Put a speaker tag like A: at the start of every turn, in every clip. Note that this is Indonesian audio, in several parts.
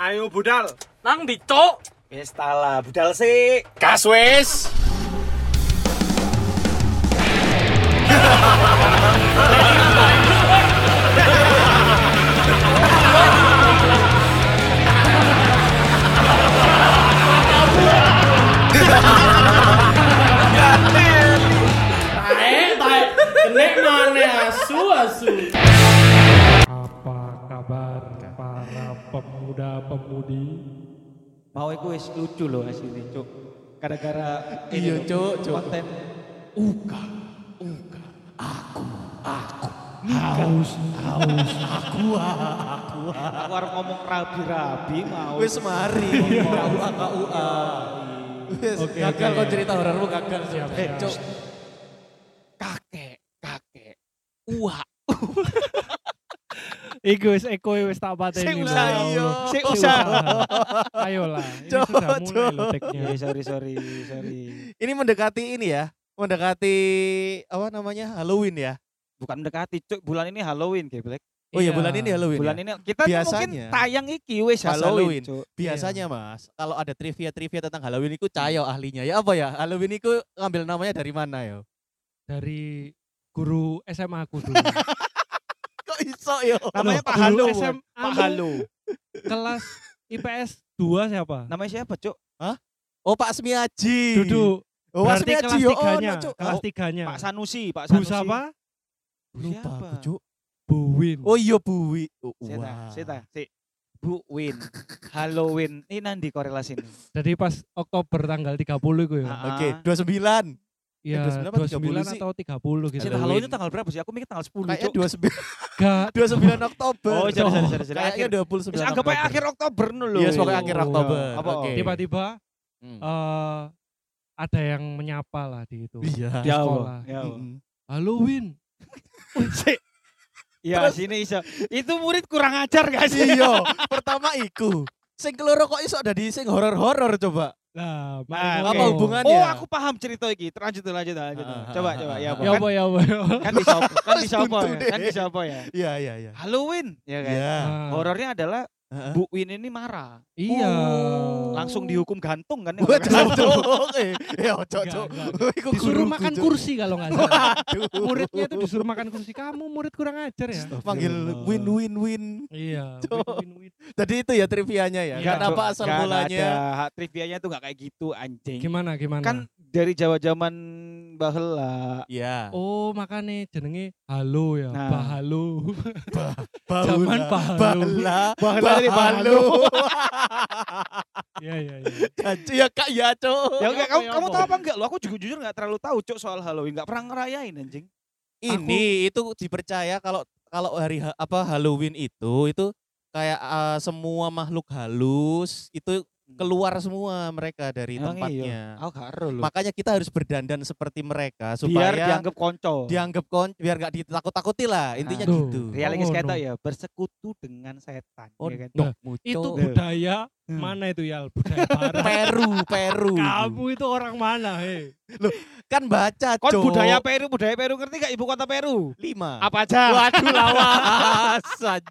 A: Ayo budal.
B: Nang ndi, Cuk?
C: Wis tala, budal sik.
D: Gas wis.
E: Tae, tae. Kene maneh asu asu.
F: Apa kabar para pemuda-pemudi?
G: Mau iku wis lucu loh asline, Cuk. Gara-gara
E: Iya,
G: ini
E: Cuk,
G: loh,
E: Cuk.
G: Konten
F: Uka, uka, aku, aku, haus, haus, aku, aku,
G: aku harus ngomong rabi-rabi mau.
E: Wis mari. Kau kau Wis
F: Oke,
E: gagal
F: oke.
E: kau cerita horormu gagal.
F: Siap,
E: Eh,
F: siap.
E: Cuk.
G: kakek, kakek. Uak.
F: Iku wis eko wis tak pateni.
E: Sing
F: Bang.
E: usah, iya.
F: Sing
E: Sing
F: usah. Ayolah, ini
E: Cok,
F: sudah mulai
E: cok.
F: loh take-nya.
G: Ya sorry sorry sorry.
E: Ini mendekati ini ya. Mendekati apa namanya? Halloween ya.
G: Bukan mendekati, Cuk. Bulan ini Halloween, geblek.
E: Oh iya,
F: Iya.
E: bulan ini Halloween.
G: Bulan
E: ya?
G: ini iya. kita tuh mungkin
E: Biasanya.
G: tayang iki wis
E: Pas Halloween.
G: Halloween, Cuk.
E: Biasanya Mas, kalau ada trivia-trivia tentang Halloween itu cayo ahlinya. Ya apa ya? Halloween itu ngambil namanya dari mana ya?
F: Dari guru SMA aku dulu.
E: Kok iso yo?
F: Namanya Pak Halu. SMA
G: Pak Halo.
F: kelas IPS 2 siapa?
G: Namanya siapa, Cuk?
E: Oh Pak Smiaji.
F: Duduk.
E: Oh Pak
F: Berarti
E: Smiaji
F: kelas
E: yo
F: tiganya.
E: ono, Cuk.
F: Kelas
E: Oh,
F: tiganya.
G: Pak Sanusi, Pak
F: Bu
G: Sanusi.
F: siapa?
G: Bu
E: Lupa
G: siapa?
E: aku, Cuk.
F: Bu Win.
E: Oh iya Buwi. Oh,
G: Seta,
E: wah.
G: seta, si. Bu Win, Halloween, ini nanti korelasi ini.
F: Jadi pas Oktober tanggal 30 itu ya.
G: Ah,
E: Iya, Oke, 29.
F: Ya
E: 29 apa 30
F: 29
E: sih?
F: atau 30 gitu.
G: Cil, Halloween itu tanggal berapa sih? Aku mikir tanggal 10,
E: Kayaknya
G: Cuk.
E: 29
F: Gak
E: 29 Oktober.
G: Oh, sorry, sorry, sorry, sorry.
E: Kayaknya
G: Akhir.
E: 29
G: Terus anggap aja
E: Oktober.
G: akhir Oktober nih lho. Iya.
E: Iya, pokoknya akhir
F: Oh,
E: Oktober.
G: Apa?
E: Oke.
F: tiba-tiba
E: Hmm.
F: eh ada yang menyapa lah di itu.
E: Iya. Mm.
F: Di sekolah.
G: Ya, Allah.
E: Mm-mm.
F: Halloween.
G: ya sini iso. Itu murid kurang ajar gak sih?
E: Iya, pertama iku. Sing keloro kok iso ada di sing horor-horor coba.
F: Nah,
G: Nah,
F: makanya
E: Apa
F: ngono.
E: hubungannya?
G: Oh, aku paham cerita iki. Lanjut, lanjut, lanjut.
E: Ah, ah,
G: Coba,
E: ah,
G: coba.
E: ah,
G: Ya,
E: ah.
G: apa?
F: Ya apa ya apa. ya apa.
G: Kan- kan disopo, kan disopo
E: Tentu
G: ya.
E: deh.
G: Kan disopo ya.
E: Iya, iya, iya.
G: Halloween, ya kan?
E: Iya.
F: Nah,
G: Horornya adalah
E: Heeh.
G: Bu Win ini marah.
F: Iya.
G: Oh. Langsung dihukum gantung kan. ya, kalau
E: Wah,
G: nggak
E: cok,
G: salah.
E: cok. Oke. Ya, cok, cok.
F: Enggak,
E: Iku
F: Disuruh
E: guruku,
F: makan
E: Cok.
F: kursi kalau nggak salah.
E: Waduh.
F: Muridnya itu disuruh makan kursi. Kamu murid kurang ajar ya.
E: Oh, panggil win win win.
F: Iya.
E: Cok.
F: win-win-win.
E: Jadi itu ya trivianya ya.
F: Iya,
E: Kenapa asal
G: Nggak
E: mulanya?
G: ada. Hak Trivianya tuh gak kayak gitu anjing.
F: Gimana gimana?
G: Kan dari Jawa zaman bahela.
E: Iya.
F: Oh makanya jenenge halo ya,
G: Nah.
F: bah halo.
E: Baula,
F: zaman Pahlalu.
E: Bahla,
G: Bahla dari
E: Pahlalu.
F: Iya iya iya.
E: Janji ya Kak ya, Cok.
G: Ya enggak,
F: apa,
G: kamu,
F: ya
G: kamu
F: apa?
G: tahu apa enggak? Lo aku juga jujur enggak terlalu tahu cok soal Halloween, enggak pernah ngerayain anjing.
E: Ini itu dipercaya kalau kalau hari ha- apa Halloween itu itu kayak eh, semua makhluk halus itu keluar semua mereka dari
G: Emang iya?
E: tempatnya.
G: Aku gak ero lho.
E: Makanya kita harus berdandan seperti mereka
G: Biar
E: supaya
G: dianggap konco.
E: dianggap, kon biar nggak ditakut-takuti lah intinya
F: Tuh.
E: gitu.
G: Realis
F: Oh,
G: kata
F: no.
G: ya bersekutu dengan setan
E: Oh,
G: ya kan.
F: Nah,
E: Muco.
F: Itu budaya mana itu ya? Budaya barat.
E: Peru, Peru.
F: Kamu itu orang mana, hei?
E: kan baca,
G: Kon
E: Cok.
G: budaya Ah. Peru, budaya Peru ngerti gak ibu kota Peru?
E: lima.
G: Apa aja?
E: Waduh lawas,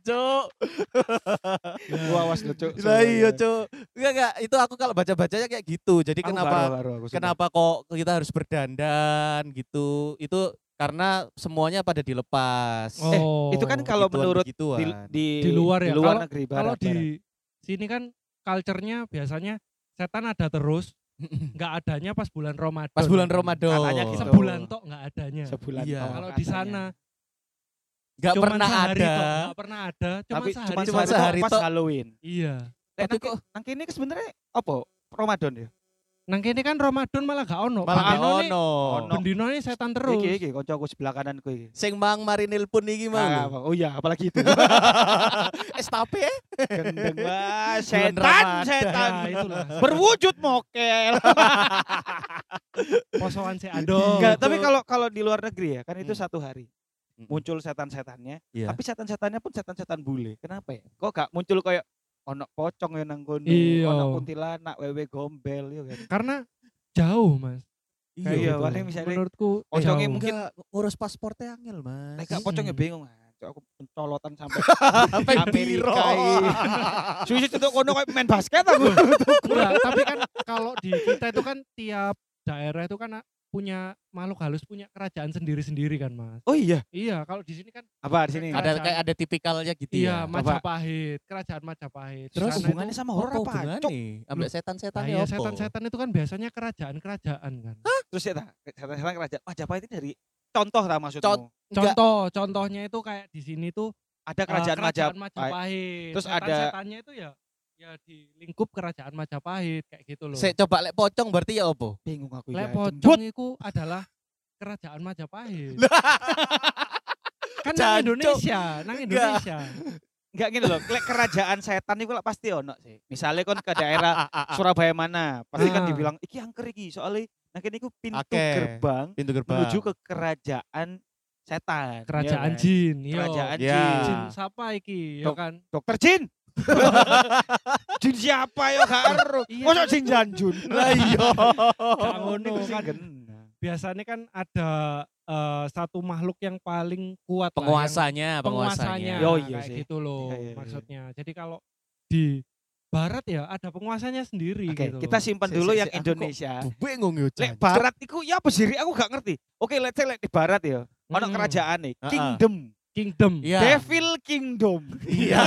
E: Cok.
G: Gua awas lo cok.
E: Lah iya, Cuk. Enggak enggak, itu aku kalau baca-bacanya kayak gitu. Jadi kenapa kenapa kok kita harus berdandan gitu? Itu karena semuanya pada dilepas.
F: Oh.
G: itu kan kalau
E: begituan-
G: menurut
E: begituan.
G: di, di,
F: Di luar
G: di
F: ya,
G: luar
F: kalau-
G: negeri
F: kalau
G: barat, barat.
F: di sini kan culture-nya biasanya setan ada terus, nggak adanya pas bulan Ramadan.
E: pas bulan Ramadan.
G: Katanya gitu.
F: Sebulan tok nggak adanya.
G: sebulan
E: Iya.
G: tau
F: Kalau di
G: katanya.
F: sana
E: Enggak
F: cuman
E: pernah
F: sehari
E: ada.
F: tok, nggak pernah ada, cuman
G: tapi
F: sehari.
G: cuma
E: cuman
F: tok.
G: sehari,
E: sehari
G: pas
E: tok.
G: Halloween.
F: Iya.
G: Lek
E: Tapi
G: nang-
E: kok-
G: nang kene ki sebenarnya apa? Ramadan ya.
F: Nang kene kan Ramadan malah gak ono.
E: Malah nggak
F: Bendino nih-
E: ono.
G: ono.
F: Bendino nih setan terus.
G: Iki iki koncoku sebelah kananku iki.
E: Sing Mang Marinil pun iki
G: Ah,
E: mau.
G: apa? oh iya, apalagi itu.
E: Estape.
G: Gendeng wah,
E: Bulan
G: setan,
E: Ramadan.
G: setan.
F: Nah, itulah.
G: Berwujud mokel.
F: Posoan si Ado.
G: Enggak, tapi kalau kalau di luar negeri ya, kan itu
E: Hmm.
G: satu hari. Muncul setan-setannya,
E: Iya.
G: tapi setan-setannya pun setan-setan bule. Kenapa ya? Kok gak muncul kayak ono pocong yang nang kono,
F: Iya.
G: ono kuntilanak, wewe gombel yo kan.
F: Karena jauh, Mas.
G: Iya,
F: Kayak gitu.
G: paling misalnya
F: menurutku
E: Oh,
G: pocongnya
E: ya
F: jauh.
G: mungkin-
E: Enggak ngurus pasportnya angel, Mas.
G: Nek gak pocong ya
F: Mm-mm.
G: bingung. cok, aku pencolotan sampai
E: Hmm. Sampai
G: Amerika
E: biro.
G: ini. suwi itu kono kayak main basket aku.
F: Enggak, tapi kan kalau di kita itu kan tiap daerah itu kan punya makhluk halus punya kerajaan sendiri-sendiri kan mas
G: Oh iya,
F: iya kalau di sini kan
G: apa di sini?
E: ada kayak ada tipikalnya gitu
F: iya
E: ya.
F: Majapahit kerajaan Majapahit Di
E: Terus
F: sana itu-
G: hubungannya sama
E: Apa
G: horor apa? Cok.
E: hubungannya? Ambek
F: Nah,
E: setan-setan
F: iya, setan-setan itu kan biasanya kerajaan-kerajaan kan
G: Terus ya tak, setan-setan kerajaan. Majapahit itu dari contoh tak maksudmu?
E: Cont- Enggak.
F: contoh contohnya itu kayak di sini tuh
G: ada
F: eh,
G: kerajaan,
F: kerajaan
G: Majapahit.
F: Majapahit
G: Terus ada-
F: setan-setannya itu ya ya di lingkup kerajaan Majapahit kayak gitu loh
E: Saya coba lek pocong berarti ya opo?
G: Bingung aku ya.
F: Lek pocong itu adalah kerajaan Majapahit. kan
E: Jancuk.
F: nang Indonesia, nang Indonesia.
G: Enggak gini loh, lek kerajaan setan itu lah pasti ono sih. Misalnya kon ke daerah Surabaya mana, pasti kan
F: Ah.
G: dibilang iki angker iki soalnya nah kene iku pintu
E: Oke.
G: gerbang
E: Pintu gerbang.
G: menuju ke kerajaan setan.
F: Kerajaan
G: Iya kan?
F: jin, Iya. yo.
G: Kerajaan
E: Ya.
G: jin.
F: jin siapa iki, ya
G: Dok-
F: kan?
G: Dokter jin. jin siapa yo gak ero.
F: Iya,
G: Mosok Oh.
F: kan?
G: jin janjun.
E: Lah iya.
F: Gak ngono
G: Iku nah. sih
F: kan.
G: kena.
F: Biasanya kan ada eh, satu makhluk yang paling kuat lah, yang
E: Penguasanya,
F: penguasanya.
E: penguasanya.
G: Yo, iya
F: kayak
G: sih.
F: gitu loh
G: Iya, iya, iya.
F: maksudnya. Jadi kalau di barat ya ada penguasanya sendiri
G: Oke,
F: gitu.
G: kita simpan
E: Si-
G: dulu
E: si-
G: yang
E: si, aku kok
G: Indonesia.
E: Duh, Bingung yo.
G: Lek
E: Jan.
G: barat iku ya apa sih? Aku gak ngerti. Oke, let's say lek di barat ya. Ono
F: Hmm.
G: kerajaan nih,
E: Ah-ah.
G: kingdom.
F: kingdom.
E: Iya.
G: Devil Kingdom.
F: Iya.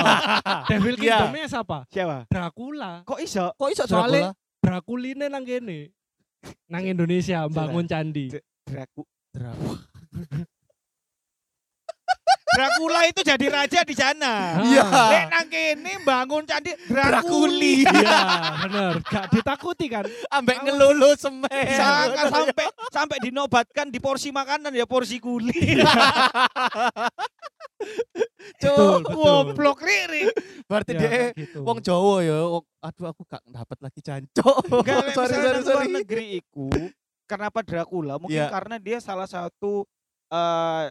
F: Devil
E: Iya.
F: kingdomnya siapa?
G: Siapa?
F: Dracula.
G: Kok iso?
E: Kok iso
F: Soale-
E: soalnya
F: Drakuline nang kene. Nang Indonesia bangun candi.
G: Draku Dracula itu jadi raja di sana.
E: Iya.
F: Ah,
G: Lek nang kene bangun candi Drakuli.
E: Drakuli. Ya,
F: Iya, bener. Gak ditakuti kan?
E: ambek ngelulu semen.
G: Sangka Eh, sampai sampai dinobatkan di porsi makanan ya porsi kuli.
E: Iya, Cuk.
G: Goblok riri.
E: Berarti
F: Ya,
E: dia
F: kayak gitu.
E: wong Jawa ya. Wong- Aduh aku gak dapat lagi jancok.
G: Enggak,
E: Oh, sorry sorry
G: luar
E: sorry.
G: negeri iku kenapa Dracula? Mungkin
E: Iya.
G: karena dia salah satu eh,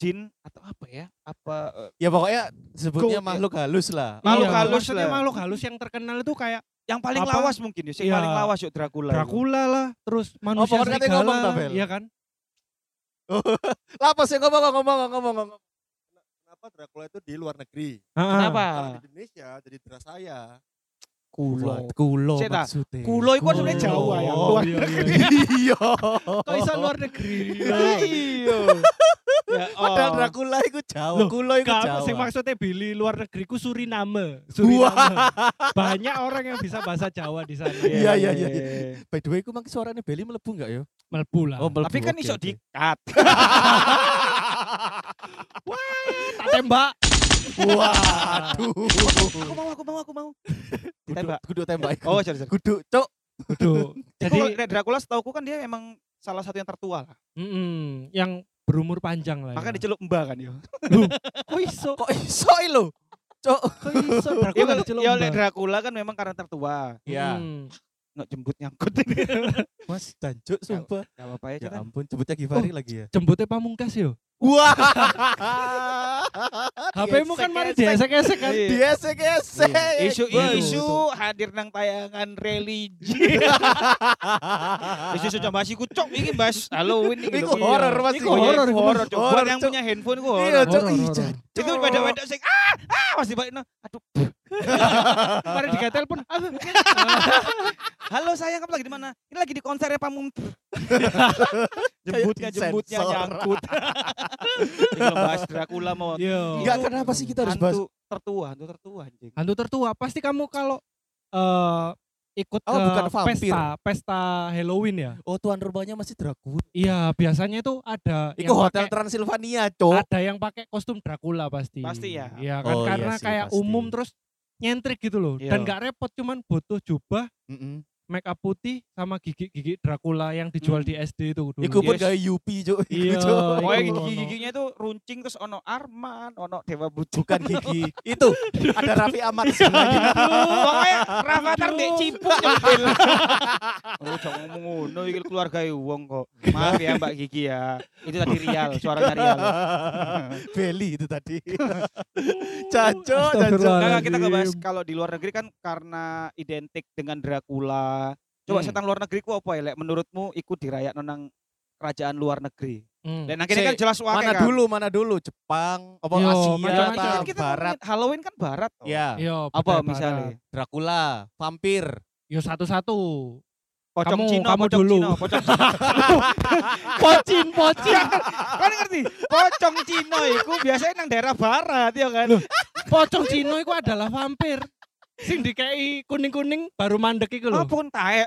G: jin atau apa ya? Apa eh,
E: Ya pokoknya sebutnya
G: Go-
E: makhluk halus lah.
G: makhluk
F: Iya,
G: halus
F: maksudnya
G: lah.
F: makhluk halus yang terkenal itu kayak
G: yang paling
F: Apa?
G: lawas mungkin ya, yang
F: Iya.
G: paling lawas yuk Dracula. iku.
F: Dracula lah, terus manusia
E: pokoknya katanya
F: serigala
E: ngomong,
F: lah,
E: Tabel.
F: Iya kan?
E: Lapas ya ngomong ngomong ngomong ngomong. Kenapa Dracula itu di luar negeri?
G: Kenapa?
E: Ah.
A: Kalau di Indonesia jadi deras saya.
E: Kulo. Kulo
G: Cek, Ta.
E: maksudnya.
G: Kulo iku aslinya
E: Kulo.
G: Jawa ya.
E: Oh,
G: Luar
F: iya,
G: negeri.
F: iya.
E: Iya.
F: Kok bisa luar negeri?
G: Iya. Ya,
E: Oh. Padahal
G: oh.
E: Dracula itu Jawa.
F: Loh,
E: Kulo itu Jawa.
F: Kamu sih maksudnya Billy luar negeriku Suriname. Suriname. Banyak orang yang bisa bahasa Jawa di sana.
E: Iya, iya, iya, iya. By the way, ku mangki suaranya Beli melebu enggak ya?
F: Melbu lah.
E: melebu.
G: Tapi kan
E: oke,
G: iso
E: oke.
G: dikat.
F: Tak tembak.
E: Waduh.
G: Aku mau, aku mau, aku mau.
E: Kudu,
G: Ditembak.
E: kudu tembak. iku.
G: Oh, sorry, sorry.
E: kudu, cok.
F: Aduh.
G: Jadi
F: Jadi
G: Dracula setauku kan dia emang salah satu yang tertua lah.
F: Mm-mm, yang berumur panjang
E: Iya.
F: lah.
G: Makanya
F: ya.
G: dicelup mbak kan yo.
F: kok iso,
E: Kok iso iki lho? Cok.
F: kok iso
G: Ya
F: Dracula
G: kalau-
F: diceluk
G: ya,
F: Mbak?
G: oleh Dracula kan memang karena tertua.
E: Ya,
F: Mm.
G: Nggak jembut nyangkut ini.
E: Mas Danjuk sumpah.
G: Gak apa-apa ya,
E: Ya
G: kita.
E: ampun, jebutnya Givari lagi ya.
F: Jembutnya pamungkas yo.
E: Wah. Oh,
F: HP-mu kan mari diesek-esek kan.
G: Iya.
E: Dia sek-sek.
G: Isu-isu
F: Betul,
G: hadir nang tayangan religi. Isu-isu coba sih cok ini mas. Halloween ini. gitu.
E: Iku
G: lho.
E: horor mas.
F: Iku horor, iku, Mas.
E: horor. Cok.
G: Buat yang
E: Cok.
G: punya handphone ku
E: Iya,
G: horor.
E: Cok.
F: Horor,
E: Ih,
F: horor.
E: Jan, Cok.
G: Itu beda-beda sing ah ah pasti baiknya. Aduh.
F: Mari digawe telepon. Ah,
G: Halo sayang kamu lagi di mana? Ini lagi di konsernya Pamum. jembutnya
E: Kayak
G: jembutnya
E: disensor.
G: nyangkut. Ini kalau bahas Dracula mau.
F: Yo.
E: Enggak kenapa sih kita harus bahas
G: Hantu tertua, hantu tertua anjing.
F: Hantu tertua pasti kamu kalau eh ikut
E: Oh,
F: ke
E: bukan vampir.
F: pesta pesta Halloween ya.
E: Oh tuan rumahnya masih Dracula.
F: Iya, biasanya itu ada
E: Iku
F: yang
E: hotel
F: pakai-
E: Transylvania, cok.
F: ada yang pakai kostum Dracula pasti.
G: Pasti ya.
F: Iya kan
E: Oh, iya
F: karena
E: sih,
F: kayak
E: pasti.
F: umum terus nyentrik gitu loh dan
G: Iya.
F: gak repot cuman butuh jubah make up putih sama gigi-gigi Dracula yang dijual
G: Hmm.
F: di SD itu dulu.
E: Iku pun
G: Yes.
E: gaya Yupi, cok. Iku,
F: Iya,
E: Cok.
F: iya.
G: Pokoknya
F: Iku ono.
G: gigi-giginya itu runcing terus ono Arman, ono Dewa Bucu.
E: Bukan gigi. Itu ada Raffi Ahmad di sebelah gitu.
G: Pokoknya Rafathar
F: Aduh.
G: dek ciput nyempil. Lu Oh, jangan ngomong ngono iki keluarga wong kok. Maaf ya Mbak Gigi ya. Itu tadi Rial, suaranya Rial.
E: Beli itu tadi. Jancuk, jancuk.
G: Nah, kita
F: Astagfirullah.
G: nggak bahas
F: Astagfirullahaladzim.
G: kalau di luar negeri kan karena identik dengan Dracula. Coba
E: Hmm.
G: setan luar negeri ku apa ya? Lek? Menurutmu ikut dirayak nonang kerajaan luar negeri.
F: Hmm.
G: Dan akhirnya kan
E: Sik,
G: jelas wakil
E: Mana
G: kan.
E: dulu, mana dulu? Jepang, apa
F: Yo,
E: Asia,
F: macam-macam. Iya.
E: apa
G: Kan kita
E: Barat?
G: ngomongin Halloween kan barat. toh.
E: Ya,
F: Yo,
G: Apa
F: budaya
G: misalnya?
F: Hmm. Barat.
E: Dracula, vampir.
F: Yo satu-satu.
G: Pocong
F: Kamu-
G: Cina,
F: kamu
G: pocong
F: dulu.
G: Cina, pocong Cina.
F: Pocin, pocin,
G: kan ngerti? Pocong Cina itu biasanya nang daerah barat ya kan.
F: pocong Cino itu adalah vampir. Sing dikei kuning-kuning baru mandek iku lho.
G: Oh, pun tae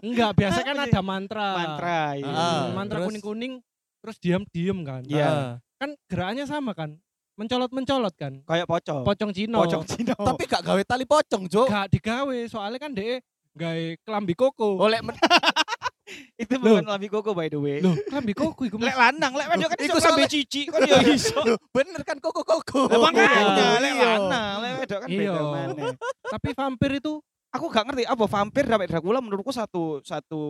F: Enggak, biasa kan
G: Apa sih?
F: ada mantra.
G: mantra. iya.
E: Ah.
F: Hmm, mantra
E: terus?
F: kuning-kuning terus diam-diam kan.
G: Iya.
E: Ah.
F: Kan gerakannya sama kan. Mencolot-mencolot kan.
G: Kayak pocong.
F: Pocong Cino.
G: Oh. Pocong Cina.
E: Tapi gak gawe tali pocong, Cuk.
F: Gak digawe soalnya kan deh gawe kelambi koko.
E: Oleh men-
G: itu bukan lambi koko by the way.
F: Loh, kelambi koko iku
G: Lek lanang, lek wedok kan
E: Iku
G: iso sampe
E: sampe
G: cici kan ya iso.
E: Loh, bener kan koko-koko.
G: Lah makanya
F: Iya.
G: lek lanang, lek wedok kan
F: Iya.
G: beda maneh.
F: Tapi vampir itu
G: Aku gak ngerti apa vampir sampai Dracula menurutku satu satu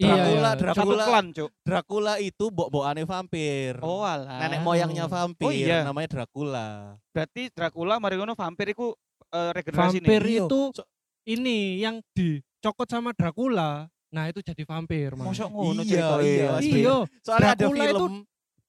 F: iya,
E: Dracula,
G: satu
E: Dracula,
G: klan, Cuk.
E: Dracula itu bok-bokane vampir.
G: Oh alah.
E: Nenek moyangnya vampir,
G: Oh, iya.
E: namanya Dracula.
G: Berarti Dracula mari ngono vampir iku eh, regenerasi
F: vampir
G: nih.
E: Iya.
F: itu
E: So-
F: ini yang dicokot sama Dracula. Nah, itu jadi vampir, Mas.
G: Mosok ngono
E: Iya,
G: ceritanya.
E: iya. Mas,
F: Hmm. Iya,
E: Soalnya
F: Dracula
E: ada
F: itu-
E: film,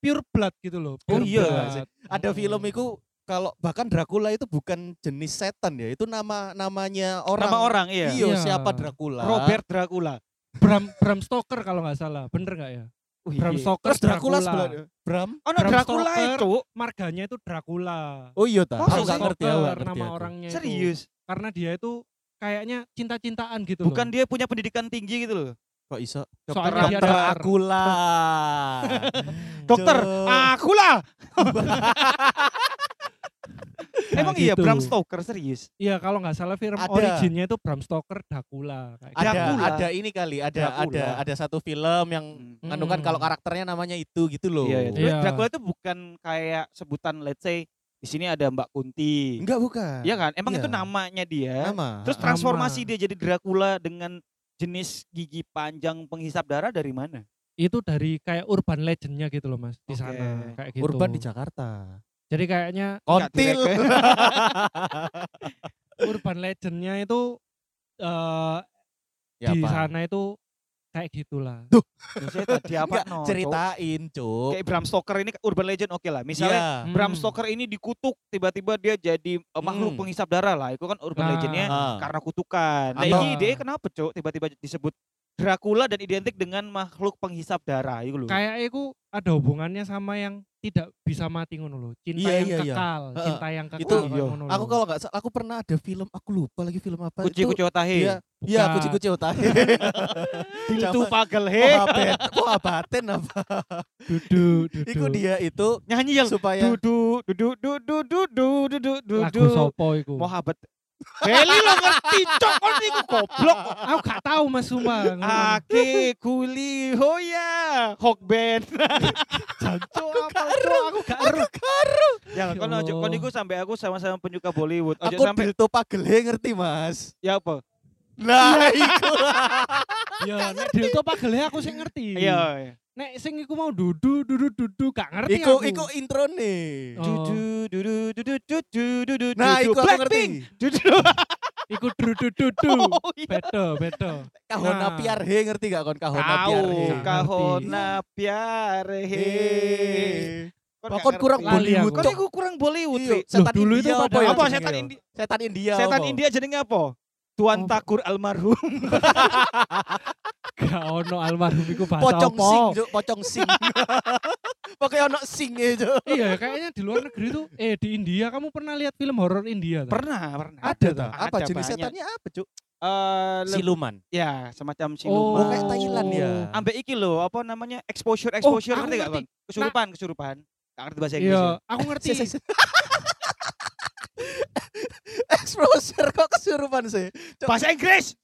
F: pure blood gitu loh.
G: Oh
F: pure
G: iya.
F: blood.
E: ada film itu kalau bahkan Dracula itu bukan jenis setan ya, itu nama namanya orang.
G: Nama orang iya.
E: Iya,
F: Iya.
E: siapa Dracula?
G: Robert Dracula.
F: Bram Bram Stoker kalau nggak salah, bener nggak ya?
G: Oh,
F: Bram
G: iya.
F: Stoker
E: Terus Dracula,
F: Dracula.
E: sebelah- Bram.
G: Oh, no,
F: Bram
G: Dracula
F: Stoker.
G: itu
F: Marganya itu Dracula.
E: Oh iya ta.
G: Oh,
E: Aku
G: Bram
E: gak ngerti aku gak
F: Stoker,
E: ngerti.
F: nama
E: aku.
F: orangnya itu.
G: serius.
F: Karena dia itu kayaknya cinta-cintaan gitu
G: Bukan
F: loh.
G: dia punya pendidikan tinggi gitu loh.
E: Kok iso?
F: Soalnya
G: dokteran.
F: dia
E: Dokter
F: dokter.
E: Dracula.
F: Hmm.
G: Dokter, Ah.
E: Cuk.
G: aku lah.
F: Nah,
G: Emang iya
F: gitu.
G: Bram Stoker serius.
F: Iya, kalau nggak salah film
E: Ada.
F: originnya itu Bram Stoker Dracula kayak
E: ada
F: gitu.
G: Dracula.
E: ada ini kali, ada
G: Dracula.
E: ada ada satu film yang anu kan
F: Hmm.
E: kalau karakternya namanya itu gitu loh.
G: Iya, iya.
F: Iya.
G: Dracula itu bukan kayak sebutan let's say di sini ada Mbak Kunti.
E: Enggak bukan.
G: Iya kan? Emang
E: Iya.
G: itu namanya dia.
E: Nama.
G: Terus
F: Nama.
G: transformasi dia jadi Dracula dengan jenis gigi panjang penghisap darah dari mana?
F: Itu dari kayak urban legendnya gitu loh, Mas, di
G: Oke.
F: sana kayak gitu.
E: Urban di Jakarta.
F: Jadi kayaknya
E: Kontil.
F: urban legendnya itu eh
E: Ya,
F: di
E: apa?
F: sana itu kayak gitulah.
G: Maksudnya tadi apa
E: Enggak,
G: no? Cuk?
E: ceritain, Cuk.
G: Kayak Bram Stoker ini urban legend oke lah. Misalnya
E: Iya.
G: Bram
F: Hmm.
G: Stoker ini dikutuk tiba-tiba dia jadi eh, makhluk
E: Hmm.
G: penghisap darah lah. Itu kan urban
F: Nah.
G: legendnya
E: Ah.
G: karena kutukan. Nah,
E: Atau-
G: ini dia kenapa, Cuk? Tiba-tiba disebut Dracula dan identik dengan makhluk penghisap darah itu loh.
F: Kayak itu ada hubungannya sama yang tidak bisa mati ngono loh. Cinta
E: Iya,
F: yang
E: iya, iya.
F: kekal,
E: Heeh.
F: cinta yang kekal
E: Itu- iya.
F: kayak ngono
E: Aku
F: loh.
E: kalau nggak salah, aku pernah ada film, aku lupa lagi film apa.
G: Kuci
E: itu
G: kuci otahe.
E: Iya, iya
F: Bukan.
E: kuci kuci otak.
G: Itu pagel he.
E: Wah, Wah batin apa?
F: duduk, duduk.
E: Iku dia itu
G: Nyanyi yang
E: supaya
G: dudu dudu dudu dudu dudu
F: lagu
G: dudu.
F: sopo iku.
G: Mohabet. Beli lo kan? ngerti cok kon iku goblok.
F: Aku gak tahu Mas Suma. ngono.
G: Ake kuli hoya hok band.
F: Jancuk apa cok, aku gak ero.
G: Ya kon
F: Ya
G: ojo kon
F: Allah.
G: iku sampe aku sama-sama penyuka Bollywood. Ojo
E: aku
G: sampe
E: dilto pagele ngerti mas.
G: ya apa?
E: Nah iku
F: Ya nek Dilto pagele aku sing ngerti.
G: Iya.
E: Oh.
G: iya.
F: Nek sing iku mau dudu dudu dudu gak ngerti
E: iku
F: aku.
E: iku intro nih.
F: Oh.
G: Dudu dudu dudu dudu dudu.
E: Nah
G: dudu.
E: iku aku ngerti.
G: Gitu, Blackpink. Dudu.
F: Iku dudu dudu.
G: Oh iya.
F: Beto, beto.
E: Kahona
F: Nah.
E: piar he ngerti gak kon kahona piar
G: Tahu Kan
E: he.
F: Gak
G: kahona piare he. Kon
E: Wah,
G: gak
E: kon kurang
G: ngerti.
E: Bollywood
G: Kon
E: cok.
G: iku kurang Bollywood.
E: Iya,
G: Ri.
E: setan
F: dulu itu
E: India apa
F: pada-
E: ya?
G: Apa
F: jenenge
G: setan
F: apa?
G: Indi?
E: Setan India.
F: Ya
G: Setan
E: apa?
G: India jenenge apa? Tuan
F: Apa?
G: Takur almarhum.
F: Gak ono almarhum iku bahasa
E: Pocong
F: apa.
E: sing, Cuk, pocong sing. Pokoknya ono sing e, aja.
F: Iya, kayaknya di luar negeri tuh eh di India kamu pernah lihat film horor India tak?
G: Pernah, pernah.
E: Ada ta?
G: Ada
E: Apa jenis
G: banyak.
E: setannya apa, Cuk?
G: Eh, leb-
E: Siluman.
G: ya semacam
E: Oh,
G: siluman.
E: kayak Thailand ya.
G: Ambek iki loh, apa namanya? Exposure, exposure
F: Oh, aku
G: ngerti gak,
F: ngerti. Nah.
G: Bang? Kesurupan, kesurupan. Gak ngerti bahasa Inggris. ya?
F: Iya, aku ngerti.
E: Si- si- si. Exposure kok kesurupan sih?
G: Bahasa Inggris.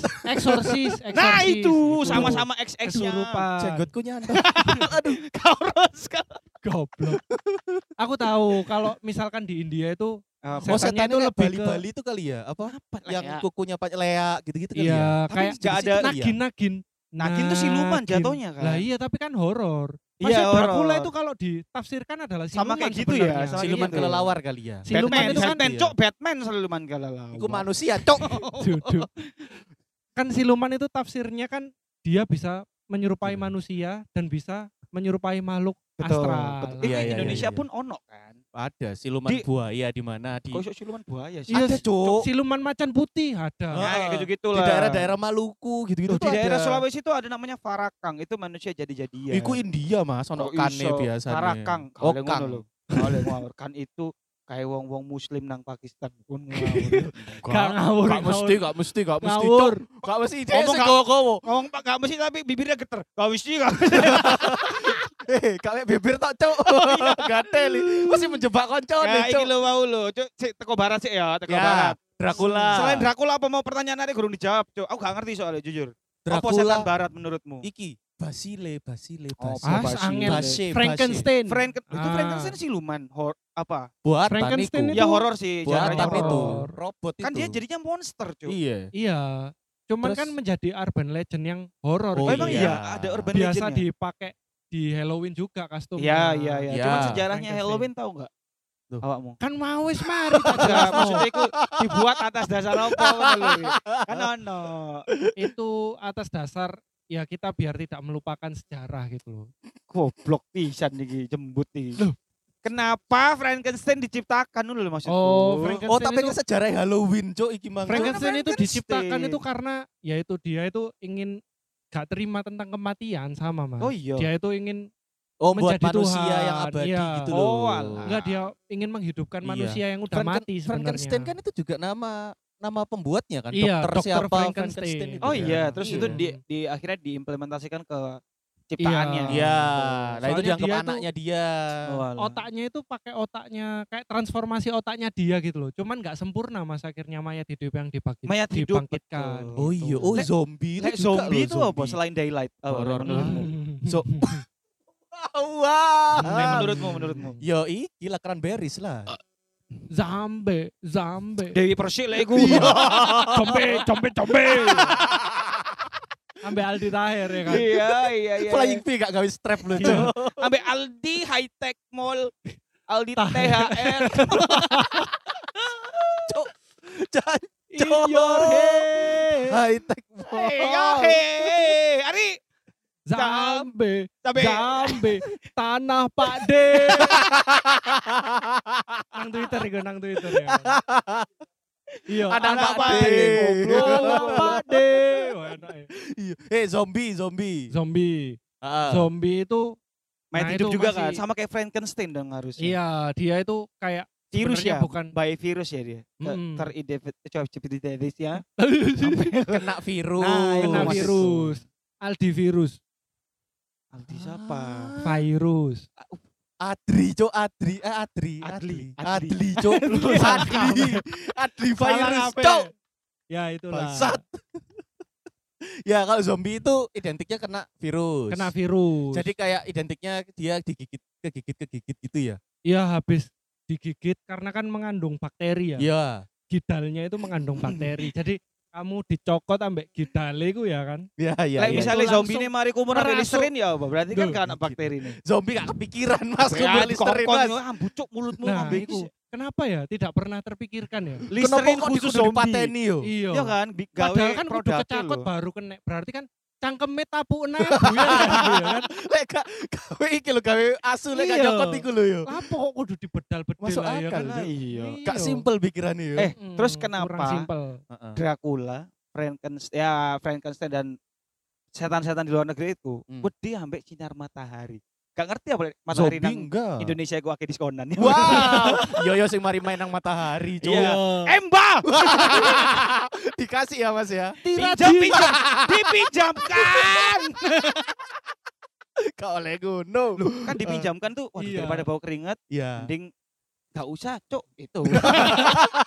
F: Eksorsis, eksorsis, eksorsis.
G: Nah, itu
F: Gitu.
G: sama-sama XX nya
F: kesurupan.
E: Jenggotku nyantol. Aduh.
G: Kau harus kan.
F: Goblok. Aku tahu kalau misalkan di India itu
E: Oh
F: Setannya
E: setannya
F: itu
E: itu
F: lebih ke-
E: Bali-Bali itu kali ya? Apa? yang
G: yang
E: kukunya Pak Lea gitu-gitu kali ya?
F: iya
E: Tapi
F: kayak
E: nggak
G: ada-
E: ada
F: nagin nagin.
G: Nagin tuh siluman
F: Nagin.
G: jatuhnya kan.
F: Lah iya tapi kan horor.
G: Iya,
F: Maksudnya Dracula
G: horor.
F: itu kalau ditafsirkan adalah siluman
G: Sama kayak gitu ya,
F: sebenarnya.
G: sama kayak
E: siluman
G: gitu.
E: kelelawar kali ya.
F: Siluman
G: Batman,
F: itu kan
G: Batman,
E: iya.
G: cok, Batman siluman galau.
E: Iku manusia, cok.
F: Duduk. kan siluman itu tafsirnya kan dia bisa menyerupai
G: Iya.
F: manusia dan bisa menyerupai makhluk
G: Betul,
F: astral.
G: betul. Eh,
E: Iya, iya,
G: di Indonesia
E: iya, iya.
G: pun ono kan.
E: Ada siluman
G: Di-
E: buaya di mana di
G: Kok iso siluman buaya sih?
F: Iya,
E: Ada,
G: Oh.
E: Cuk.
F: Siluman macan putih
E: Hah?
F: ada.
G: Ya, kayak gitu-gitu
E: di
G: lah.
E: daerah-daerah Maluku gitu-gitu
G: Loh, di
E: tuh
G: daerah
E: ada.
G: Sulawesi itu ada namanya Farakang, itu manusia jadi-jadian.
E: Iku India Mas, ono
G: Kok
E: kane
G: iso?
E: biasanya.
G: Farakang,
E: Oh,
G: kalau
E: kang.
G: ngono lho. Kalau ngawur kan itu kayak wong-wong muslim nang Pakistan pun ngawur.
F: Gak ngawur.
E: Gak mesti, gak mesti, gak mesti.
F: Ngawur.
E: Cuk. Gak mesti. Dia
G: Ngomong
E: sing
G: gak-
E: gowo-gowo.
G: Ngomong Pak gak mesti tapi bibirnya geter. Gak mesti gak.
E: Eh, kalian bibir tak cok. iya, Gatel. Mesti menjebak koncone,
G: Nah,
E: cok.
G: iki lho wau lho. Cuk, sik teko barat sik ya, teko
E: Oh, Ya,
G: barat.
E: Dracula.
G: Selain Dracula apa mau pertanyaan nanti kurang dijawab, Cuk. Aku gak ngerti soalnya jujur. Apa
E: Dracula.
G: setan barat menurutmu?
E: Iki Basile, Basile,
G: Oh,
E: Basile.
F: Bas- angel.
E: Basile, Basile.
F: Frankenstein.
G: Frank itu
F: Eh, Ah.
G: Frankenstein siluman hor apa?
E: Buatan
F: Frankenstein
E: itu.
F: itu-
G: Ya horor sih
E: Buatan
G: genre-nya
E: itu.
G: horor.
F: horor.
E: Robot itu.
G: Kan dia jadinya monster, Cuk.
E: Iya.
F: Iya. Cuman
E: Terus-
F: kan menjadi urban legend yang horor.
G: Oh,
E: Oh,
G: emang
E: iya.
G: iya. ada urban
F: Biasa
G: legend.
F: dipakai di Halloween juga kostumnya.
G: Iya, iya, iya.
E: Ya.
G: Cuman sejarahnya
F: Frankenstein.
G: Halloween tahu enggak?
E: Loh.
G: Awakmu.
F: Kan mau wis mari tak
G: Enggak,
F: jelasno.
G: maksudnya itu dibuat atas dasar apa ngono lho. Kan ono.
F: itu atas dasar ya kita biar tidak melupakan sejarah gitu loh.
G: Goblok pisan iki jembut iki.
F: Loh.
G: Kenapa Frankenstein diciptakan dulu lho maksudku?
F: Frankenstein
E: Oh, tapi
F: itu,
E: kan sejarah Halloween, cok. Iki mang.
G: Franken-
F: Frankenstein itu
G: Frankenstein.
F: diciptakan itu karena yaitu dia itu ingin gak terima tentang kematian sama mas.
G: Oh iya.
F: Dia itu ingin
E: Oh, buat
F: menjadi
E: manusia
F: Tuhan,
E: yang abadi
F: iya.
E: gitu loh.
G: Oh, alah.
F: enggak dia ingin menghidupkan
E: Iya.
F: manusia yang udah
E: Franken-
F: mati sebenarnya.
E: Frankenstein kan itu juga nama nama pembuatnya kan
F: Iya,
E: dokter
F: Dr.
E: siapa
F: Frankenstein.
E: itu
G: Oh
E: kan.
G: iya, terus itu
E: Iya.
G: di, di akhirnya diimplementasikan ke ciptaannya.
E: Iya, nah
F: Soalnya
E: itu dianggap
F: dia tuh-
E: anaknya dia.
G: Oh, alah.
F: otaknya itu pakai otaknya kayak transformasi otaknya dia gitu loh. Cuman nggak sempurna mas akhirnya mayat hidup yang dibagi,
G: Mayat hidup,
F: dibangkitkan.
G: betul.
E: Oh iya, oh
G: gitu. Lek-
E: zombie itu
G: Lek
E: juga
G: zombie
E: loh,
G: itu apa
E: zombie.
G: selain daylight? Oh,
E: Horor.
G: menurutmu?
E: So-
G: Nah,
E: Wah.
G: menurutmu, menurutmu?
E: Yo iki lah cranberries lah.
G: Oh,
F: Zambe, zambe.
G: Dewi Persik lah iku.
F: Iya. combe, combe, combe. Ambil Aldi Tahir ya kan.
G: Iya, iya, iya.
E: Flying V gak gawe strap loh. Cok.
G: Ambe Aldi High Tech Mall, Aldi
F: Tah.
G: THR.
E: Cok,
F: In your head.
E: High tech.
F: Oh.
G: Iya, hei, Ari.
F: Zambe,
G: Tapi
F: zambe. Tanah Pak D. nang Twitter ya, nang Twitter ya. Iya,
E: Tanah Pak D.
F: Tanah Pak D. Wah, enak ya.
E: Iya. Eh zombie, zombie.
F: Zombie.
E: Ah.
F: Zombie itu
G: main
F: Nah,
G: hidup
F: itu
G: juga
F: masih-
G: kan, sama kayak Frankenstein dong harusnya.
F: iya, dia itu kayak
G: virus
F: sebenarnya
G: ya,
F: bukan
G: by virus ya dia. Ter-
F: Mm.
G: Teridentifikasi ya.
E: kena virus.
G: Nah,
F: kena
G: Maksud-
F: virus. Aldi virus,
G: Aldi siapa?
E: Ah.
F: virus.
E: Adri, cok Adri, eh Adri, Adli,
G: Adli, Adli.
E: Adli, cok Adli, Adli virus,
F: Salah apa?
E: cok.
F: Ya itulah.
E: Bangsat. Ya kalau zombie itu identiknya kena virus.
F: Kena virus.
E: Jadi kayak identiknya dia digigit, kegigit, kegigit gitu ya.
F: ya habis digigit karena kan mengandung bakteri ya.
E: Iya.
F: Gidalnya itu mengandung bakteri. Jadi kamu dicokot ambek gidale itu ya kan.
E: Iya, iya.
G: Lah
E: iya.
G: misalnya
F: Itu
G: zombie ini mari kumur
F: merasuk.
G: listerin ya, apa? berarti kan
F: Duh,
G: karena bakteri ini.
E: Zombie gak kepikiran mas,
G: Ya,
E: kumur listerin mas.
G: dikongkon, ah, bucuk mulutmu
F: Nah,
G: ambek
F: itu
G: iku.
F: kenapa ya tidak pernah terpikirkan ya?
E: Kenapa
G: Listerin
E: kok
G: khusus
E: dikudu
G: zombie.
E: dipateni yo?
F: Iya.
G: Iya kan, bi- gawe
F: Padahal kan kudu
G: produknya
F: kecakot
G: lho.
F: baru kena. Berarti kan cangkeme tapuke naik ya kan.
E: Lek gak gawe iki lho gawe asu lek gak
F: Iya.
E: nyokot iku lho yo.
F: Apa kok kudu dibedal-bedal
E: Masuk
F: lah ya
E: akal
F: kan.
E: lah,
G: iya.
E: Gak simpel pikirannya yo.
G: Eh, terus
F: Hmm,
G: kenapa
F: Kurang simpel.
E: Heeh.
G: Dracula, Frankenstein, ya Frankenstein dan setan-setan di luar negeri itu
E: Hmm.
G: wedi ambek sinar matahari. Gak ngerti apa matahari
E: Zombie
G: nang
E: enggak.
G: Indonesia gua akeh diskonan.
E: Wow, yo yo sing mari main nang matahari, cok.
G: Iya. Emba,
E: Dikasih ya mas ya.
G: pinjam, pinjam, dipinjamkan.
E: Kau oleh gunung.
G: kan dipinjamkan tuh, waduh,
F: Iya.
G: daripada bau keringat,
E: Iya.
G: mending gak usah, cok, itu.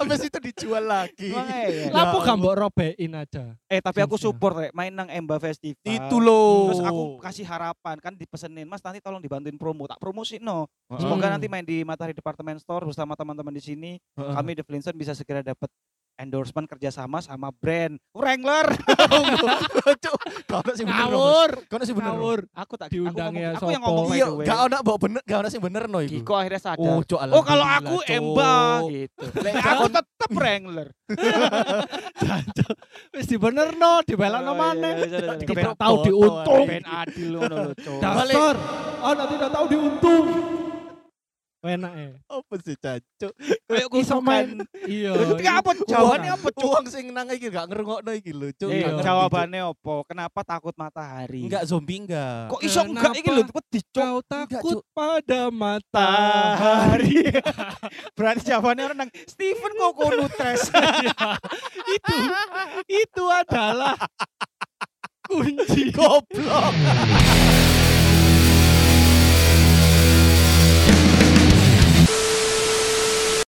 E: Habis itu dijual lagi.
G: Makanya. ya.
E: Lah, Iya.
F: Lapo gak mbok robekin aja.
G: Eh tapi aku
F: Susah.
G: support rek main nang Emba Festival.
E: itu loh.
G: Terus aku kasih harapan kan dipesenin Mas nanti tolong dibantuin promo tak promosi no.
E: Heeh.
G: Semoga
F: Hmm.
G: nanti main di Matahari Department Store bersama teman-teman di sini
E: Heeh.
G: kami The Flintstone bisa segera dapat endorsement kerjasama sama brand Wrangler.
E: Cuk, gak ono sing bener.
F: Ngawur,
E: Gak ono sing bener. Bos.
G: Aku tak
F: Diundang
G: aku, ngomong-
F: ya,
G: aku yang
F: sopo.
G: ngomong Oh, by
E: Iya,
G: the way.
E: gak ono mbok bener, gak ono sing bener no iku.
G: Giko akhirnya sadar. Oh,
E: Oh, cuk,
G: kalau
E: alhamdulillah,
G: aku
E: Cuk.
G: Emba gitu. Lek aku tetep Wrangler.
F: Wis dibenerno, dibelakno
G: Oh,
F: maneh.
G: iya, iya, iya, iya.
F: Tidak
E: Kebetulan
F: tahu
E: botol,
F: diuntung.
G: Ben adil ngono lho, Cuk.
E: Balik.
F: Dasar. Anak tidak Ah, tahu diuntung. Enak ya.
A: Apa sih cancuk?
G: Kayak
F: Iso main.
G: kusukan.
F: Iya.
G: Tapi apa jawabannya
E: Jawabannya apa cuk? Uang sing nang iki gak ngerungokno iki lho cuk.
G: Iya,
E: Gak ngerti,
G: jawabannya apa? Kenapa takut matahari?
E: Cuk. enggak zombie enggak.
G: Kok iso enggak iki lho,
F: Kenapa?
G: wedi cuk.
F: Kau takut
E: Cuk.
F: pada mata.
G: Matahari. Berarti jawabannya orang nang Steven kok kono tres.
F: itu itu adalah kunci
E: Goblok.